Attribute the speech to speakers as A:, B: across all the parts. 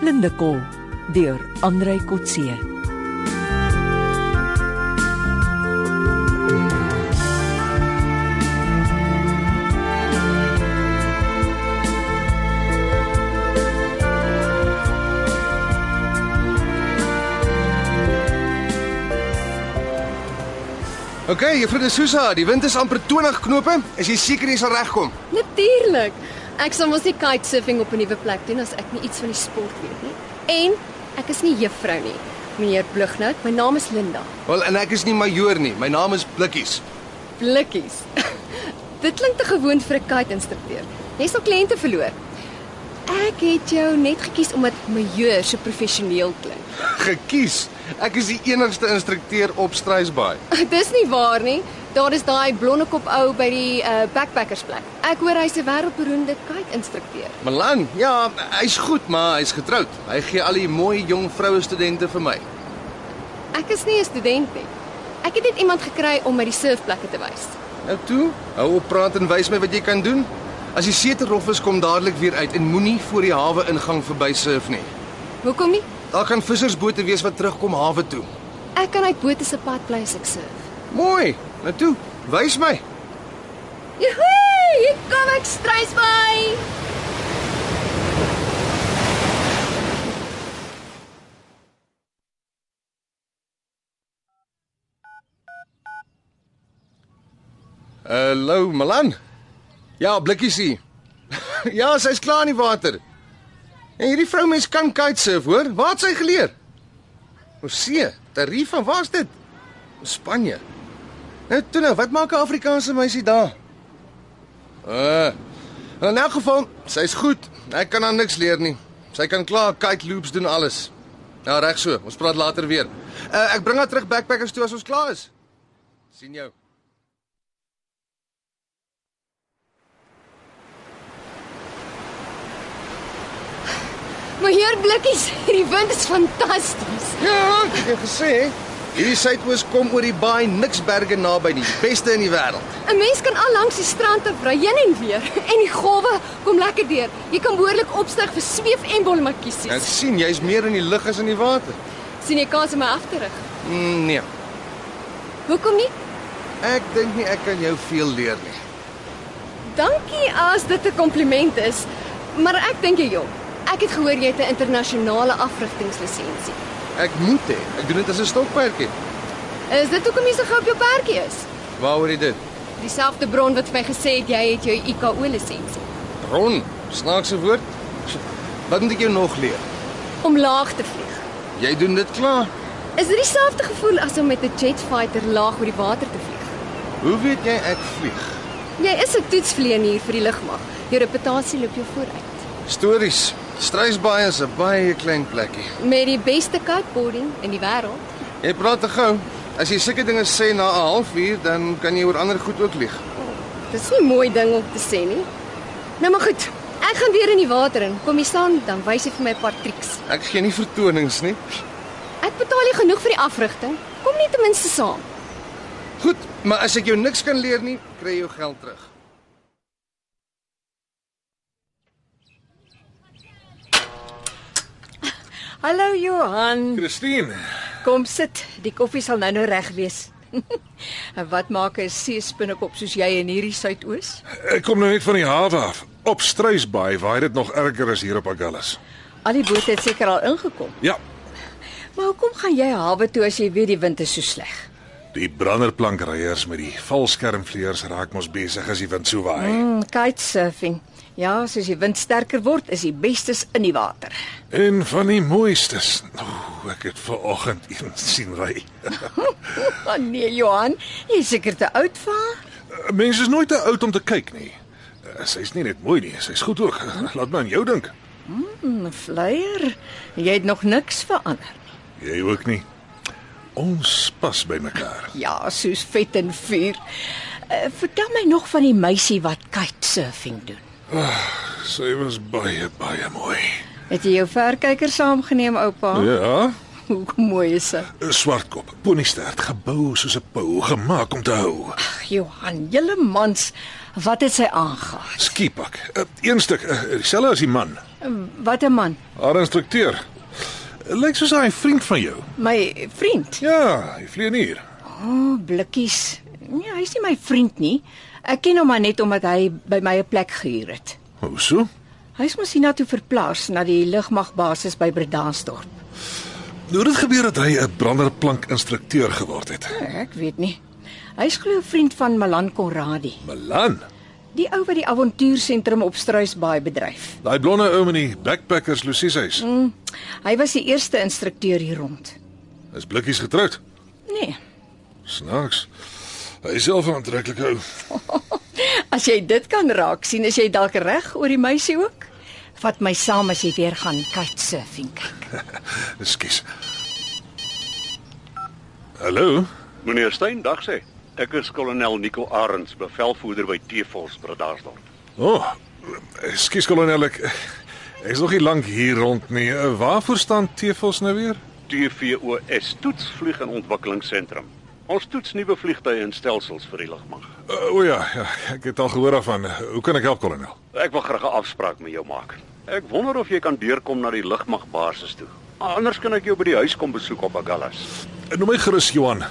A: Blinde kol deur Andrei Kotse.
B: OK, juffrou De Souza, die wind is amper 20 knope. Is jy seker jy sal regkom?
C: Natuurlik. Ek sal mos nie kitesurfing op 'n nuwe plek doen as ek nie iets van die sport weet nie. En ek is nie juffrou nie. Meneer Blighnout, my naam is Linda
B: Wel, en ek is nie majoor nie. My naam is Blikkies.
C: Blikkies. Dit klink te gewoon vir 'n kite-instrukteur. Jy sal kliënte verloor. Ek het jou net gekies omdat majeur so professioneel klink.
B: Gekies. Ek is die enigste instrukteur op Strysbaai.
C: Dis nie waar nie. Daar is daai blonde kop ou by die uh, backpackersplek. Ek hoor hy's 'n wêreldberoemde kite-instrukteur.
B: Milan, ja, hy's goed, maar hy's getroud. Hy gee al die mooi jong vroue studente vir my.
C: Ek is nie 'n student nie. Ek het net iemand gekry om my die surfplekke te wys.
B: Nou toe, hou op praat en wys my wat jy kan doen. As die see te rof is, kom dadelik weer uit en moenie voor die hawe ingang verby surf nie.
C: Hoekom nie?
B: Daar kan vissersbote wees wat terugkom hawe toe.
C: Ek kan uit bote se pad bly as ek surf.
B: Mooi. Nou toe, wys my.
C: Joehoe, hier kom ek strys by.
B: Hallo Milan. Ja, blikkies hier. ja, sy's klaar in die water. En hierdie vroumens kan kitesurf, hoor? Waar het sy geleer? Ons see, Tarifa, waar's dit? Spanje. Nou toe nou, wat maak 'n Afrikaanse meisie daar? Uh. In elk geval, sy's goed. Ek kan haar niks leer nie. Sy kan klaar kite loops doen alles. Nou reg so, ons praat later weer. Uh, ek bring haar terug backpackers toe as ons klaar is. sien jou.
C: Maar hier blikkies, hierdie wind is fantasties.
B: Ja, ek het jou gesê, hierdie suidoos kom oor die baai Niksberge naby die beste in die wêreld.
C: 'n Mens kan al langs die strand te ry heen en weer en die golwe kom lekker deur. Jy kan behoorlik opstyg vir sweef en
B: Ek
C: bolmakies.
B: sien jy's meer in die lug as in die water.
C: sien jy kans om my af te rig?
B: Mm, nee,
C: Hoekom nie?
B: ek dink nie ek kan jou veel leer nie.
C: Dankie as dit 'n kompliment is, maar ek dink jy jong. Ek het gehoor jy het 'n internasionale afrigtingslisensie.
B: Ek moet hê. Ek doen dit as 'n stokperdjie.
C: Is dit hoekom jy so gou op jou perdjie is?
B: Waaroor dit?
C: Dieselfde bron wat vir my gesê het jy het jou IKO lisensie
B: Bron, snaakse woord. Wat moet ek jou nog leer?
C: om laag te vlieg.
B: Jy doen dit klaar.
C: Is dit dieselfde gevoel as om met 'n jetfighter laag oor die water te vlieg?
B: Hoe weet jy ek vlieg?
C: Jy is 'n toetsvleienier vir die lugmag. Jou reputasie loop jou vooruit.
B: Stories. Strysbaai is 'n baie klein plekkie.
C: Met die beste kiteboarding in die wêreld.
B: Jy praat te gou. As jy sulke dinge sê na 'n halfuur, dan kan jy oor ander goed ook lieg.
C: Dis nie 'n mooi ding om te sê nie. Nou maar goed. Ek gaan weer in die water in. Kom jy saam dan wys jy vir my 'n paar triks.
B: Ek gee nie vertonings nie.
C: Ek betaal jou genoeg vir die afrigting. Kom net ten minste saam.
B: Goed, maar as ek jou niks kan leer nie, kry jy jou geld terug.
D: Hallo Johan.
E: Christine,
D: Kom sit. Die koffie sal nou nou reg wees. en wat maak 'n seespinnekop soos jy in hierdie suidoos?
E: ek kom nou net van die hawe af. Op Strysbaai waai dit nog erger as hier op Agulhas.
D: Al die bote het seker al ingekom.
E: Ja,
D: Maar hoekom gaan jy hawe toe as jy weet die wind is so sleg?
E: die branderplankryers met die valskermvleiers raak mos besig as die wind so waai.
D: Mm, kitesurfing. Ja, soos die wind sterker word, is die bestes in die water.
E: En van die mooistes. Ooh, ek het ver oggend een sien ry.
D: O oh, nee, Johan, jy is seker te oud vir haar.
E: Mense is nooit te oud om te kyk nie. Eh, Sy's nie net mooi nie, sy's goed ook. Laat my aan jou dink.
D: Mm, Flyer, jy het nog niks verander.
E: Jy ook nie. Ons pas by mekaar.
D: Ja, soos vet en vuur. Uh, vertel my nog van die meisie wat kitesurfing doen.
E: Sy was baie baie mooi.
D: Het jy jou verkyker saamgeneem, oupa?
E: Ja.
D: Hoe mooi is dit?
E: 'n Swartkop, poniestert, gebou soos 'n pou, gemaak om te hou.
D: Johan, julle mans, wat het sy aangegaan?
E: Skiepak. Uh, een stuk, uh, dieselfde as die man.
D: Wat 'n man.
E: Haar instrukteur. Lyk soos hy 'n vriend van jou.
D: My vriend.
E: Ja, hy vlieg hier.
D: O, oh, blikkies. Nee, hy's nie my vriend nie. Ek ken hom maar net omdat hy by my 'n plek gehuur het.
E: Hoe so?
D: Hy's mos hiernatoe verplaas na die lugmagbasis by Bredasdorp.
E: Hoe Nou, dit gebeur dat hy 'n branderplank instrukteur geword het.
D: Ek weet nie. Hy's glo 'n vriend van Malan Conradi,
E: Milan,
D: die ou wat die avontuursentrum op Struisbaai bedryf.
E: daai blonde ou met die backpackers Lucie se huis.
D: Hy was die eerste instrukteur hier rond.
E: Is blikkies getroud?
D: Nee.
E: Snaaks. Hy is self 'n aantreklike ou.
D: As jy dit kan raak sien, is jy dalk reg oor die meisie ook. Vat my saam as jy weer gaan kitesurfing kyk.
E: Ekskuus. Hallo.
F: Meneer Stein, dag sê. Ek is kolonel Nico Arends, bevelvoerder by T-Force Bradasdorp.
E: O, oh, ekskuus kolonel ek ek is nog nie lank hier rond nie. Eh, Waarvoor staan Tevels nou weer?
F: TVOS toetsvlieg en ontwikkelingsentrum. Ons toets nuwe vliegtye en stelsels vir die lugmag.
E: Uh, o ja, ja, ek het al gehoor daarvan. Hoe kan ek help kolonel?
F: Ek wil graag 'n afspraak met jou maak. Ek wonder of jy kan deurkom na die lugmagbasis toe. Anders kan ek jou by die huis kom besoek op Agallas.
E: Eh, Noem my gerus Johan.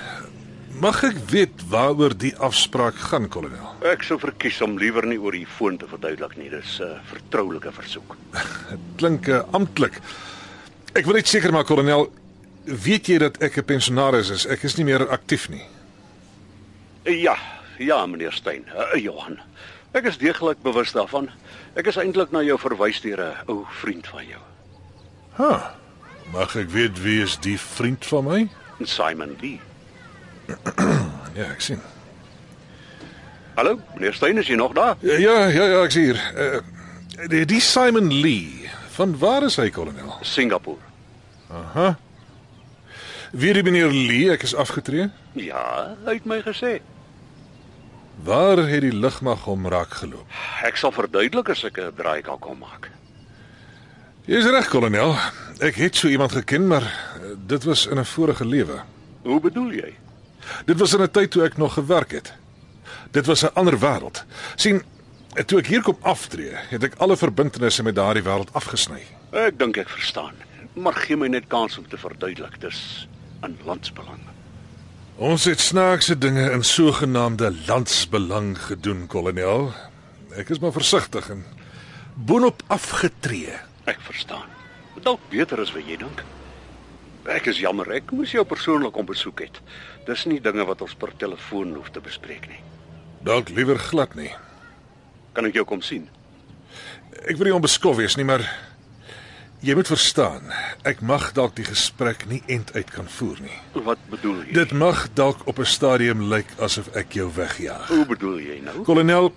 E: Mag ek weet waaroor die afspraak gaan kolonel?
F: Ek sou verkies om liewer nie oor die foon te verduidelik nie. Dis 'n vertroulike versoek.
E: Klink uh, amptelik. Ek wil net seker maak kolonel, weet jy dat ek 'n pensionaris is? Ek is nie meer aktief nie.
F: Ja, ja meneer Stein, uh, Johan. Ek is deeglik bewus daarvan. Ek is eintlik na jou verwys deur 'n ou vriend van jou,
E: Ha. Mag ek weet wie is die vriend van my?
F: Simon Lee.
E: Ja, ek sien.
F: Hallo, meneer Stein, is jy nog daar?
E: Ja, ja, ja, ek sien hier. Uh, die, die Simon Lee. Van waar is hy kolonel?
F: Singapore.
E: Wie die meneer Lee, ek is afgetree.
F: Ja, hy het my gesê.
E: Waar het die lugmag hom raak geloop?
F: Ek sal verduidelik as ek 'n draai kan kom maak.
E: Jy's reg kolonel. Ek het so iemand geken, maar eh, dit was in 'n vorige lewe.
F: Hoe bedoel jy?
E: Dit was in 'n tyd toe ek nog gewerk het. Dit was 'n ander wêreld. sien, eh, toe ek hier kom aftree, het ek alle verbintenisse met daardie wêreld afgesny.
F: Ek dink ek verstaan. Maar gee my net kans om te verduidelik. Dis in landsbelang.
E: Ons het snaakse dinge in sogenaamde landsbelang gedoen, kolonel. Ek is maar versigtig en boonop afgetree.
F: Ek verstaan. Dalk beter as wat jy dink. Ek is jammer, ek moes jou persoonlik om besoek het. Dis nie dinge wat ons per telefoon hoef te bespreek nie.
E: Dalk liewer glad nie.
F: Kan ek jou kom sien?
E: Ek wil nie onbeskof wees nie, maar jy moet verstaan, ek mag dalk die gesprek nie end uit kan voer nie.
F: Wat bedoel jy?
E: Dit mag dalk op 'n stadium lyk asof ek jou wegjaag.
F: Hoe bedoel jy nou?
E: Kolonel,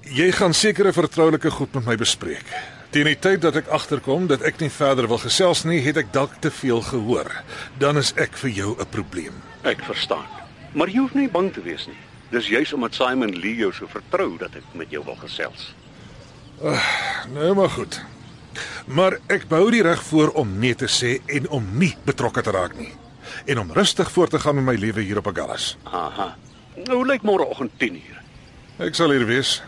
E: jy gaan sekere vertroulike goed met my bespreek. Teen die tyd dat ek agterkom dat ek nie verder wil gesels nie, het ek dalk te veel gehoor. Dan is ek vir jou 'n probleem.
F: Ek verstaan. Maar jy hoef nie bang te wees nie. Dis juis omdat Simon Lee jou so vertrou dat ek met jou wil gesels.
E: Nou maar goed. Maar ek behou die reg voor om nee te sê en om nie betrokke te raak nie en om rustig voort te gaan met my lewe hier op Agallas.
F: Aha. Nou lyk môreoggend 10 uur.
E: Ek sal hier wees.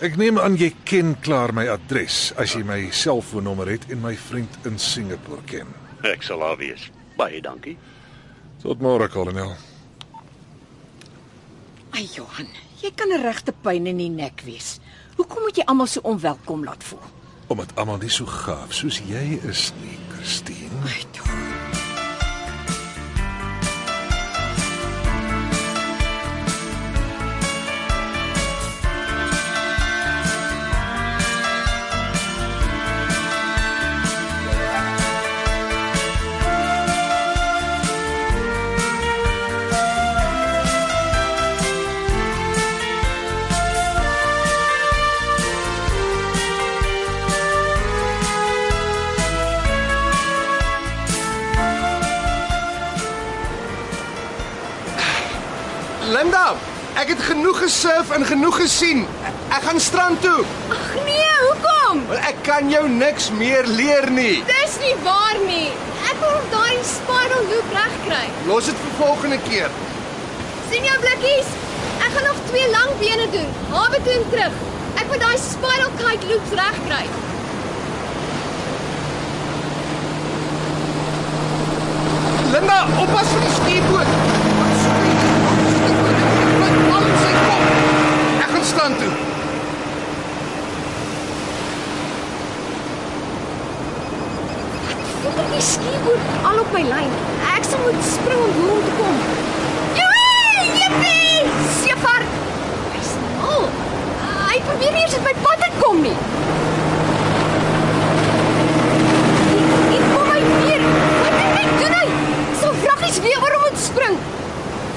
E: Ek neem aan jy ken klaar my adres as jy my selfoonnommer het en my vriend in Singapore ken.
F: Ek sal daar wees. Baie dankie.
E: Tot môre, kolonel.
D: Ai Johan, jy kan 'n regte pyn in die nek wees. Hoekom moet jy almal so onwelkom laat voel?
E: Omdat almal nie so gaaf soos jy is nie, Christine.
D: Ai tog.
B: Linda, ek het genoeg gesurf en genoeg gesien. Ek gaan strand toe.
C: Ag nee, hoekom?
B: Want Ek kan jou niks meer leer nie.
C: Dis nie waar nie. Ek wil daai spiral loop regkry.
B: Los dit vir volgende keer.
C: Sien jou blikkies? Ek gaan nog twee lang bene doen. Hawe toe en terug. Ek moet daai spiral kite loops regkry.
B: Linda, oppas vir die stuurboot. Ek gaan staan toe.
C: Voel die skieboot al op my lyn. Ek sal moet spring om hoor om te kom. Joepie! Joepie! Sefer. Hy's mal. Hy probeer nie eens op my pad te kom nie. Ek- Ek kom my weer. Wat dink ek doen hy? Sou vraggies weer oor hom moet spring.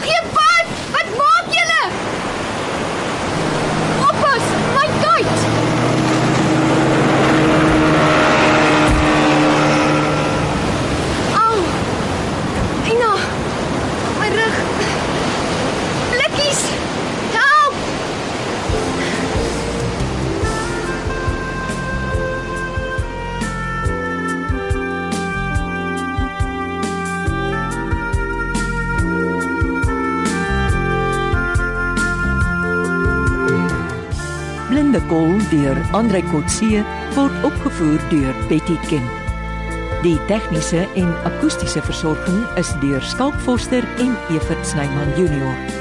C: Gee pad. Wat maak julle? Oppas, my kite. Au! Ina! My rug! Blikkies! Help!
A: Blinde Kol deur Andrei Kotse word opgevoer deur Betty Ken. Die tegniese en akoestiese versorging is deur Skalk Forster en Evert Snyman Junior.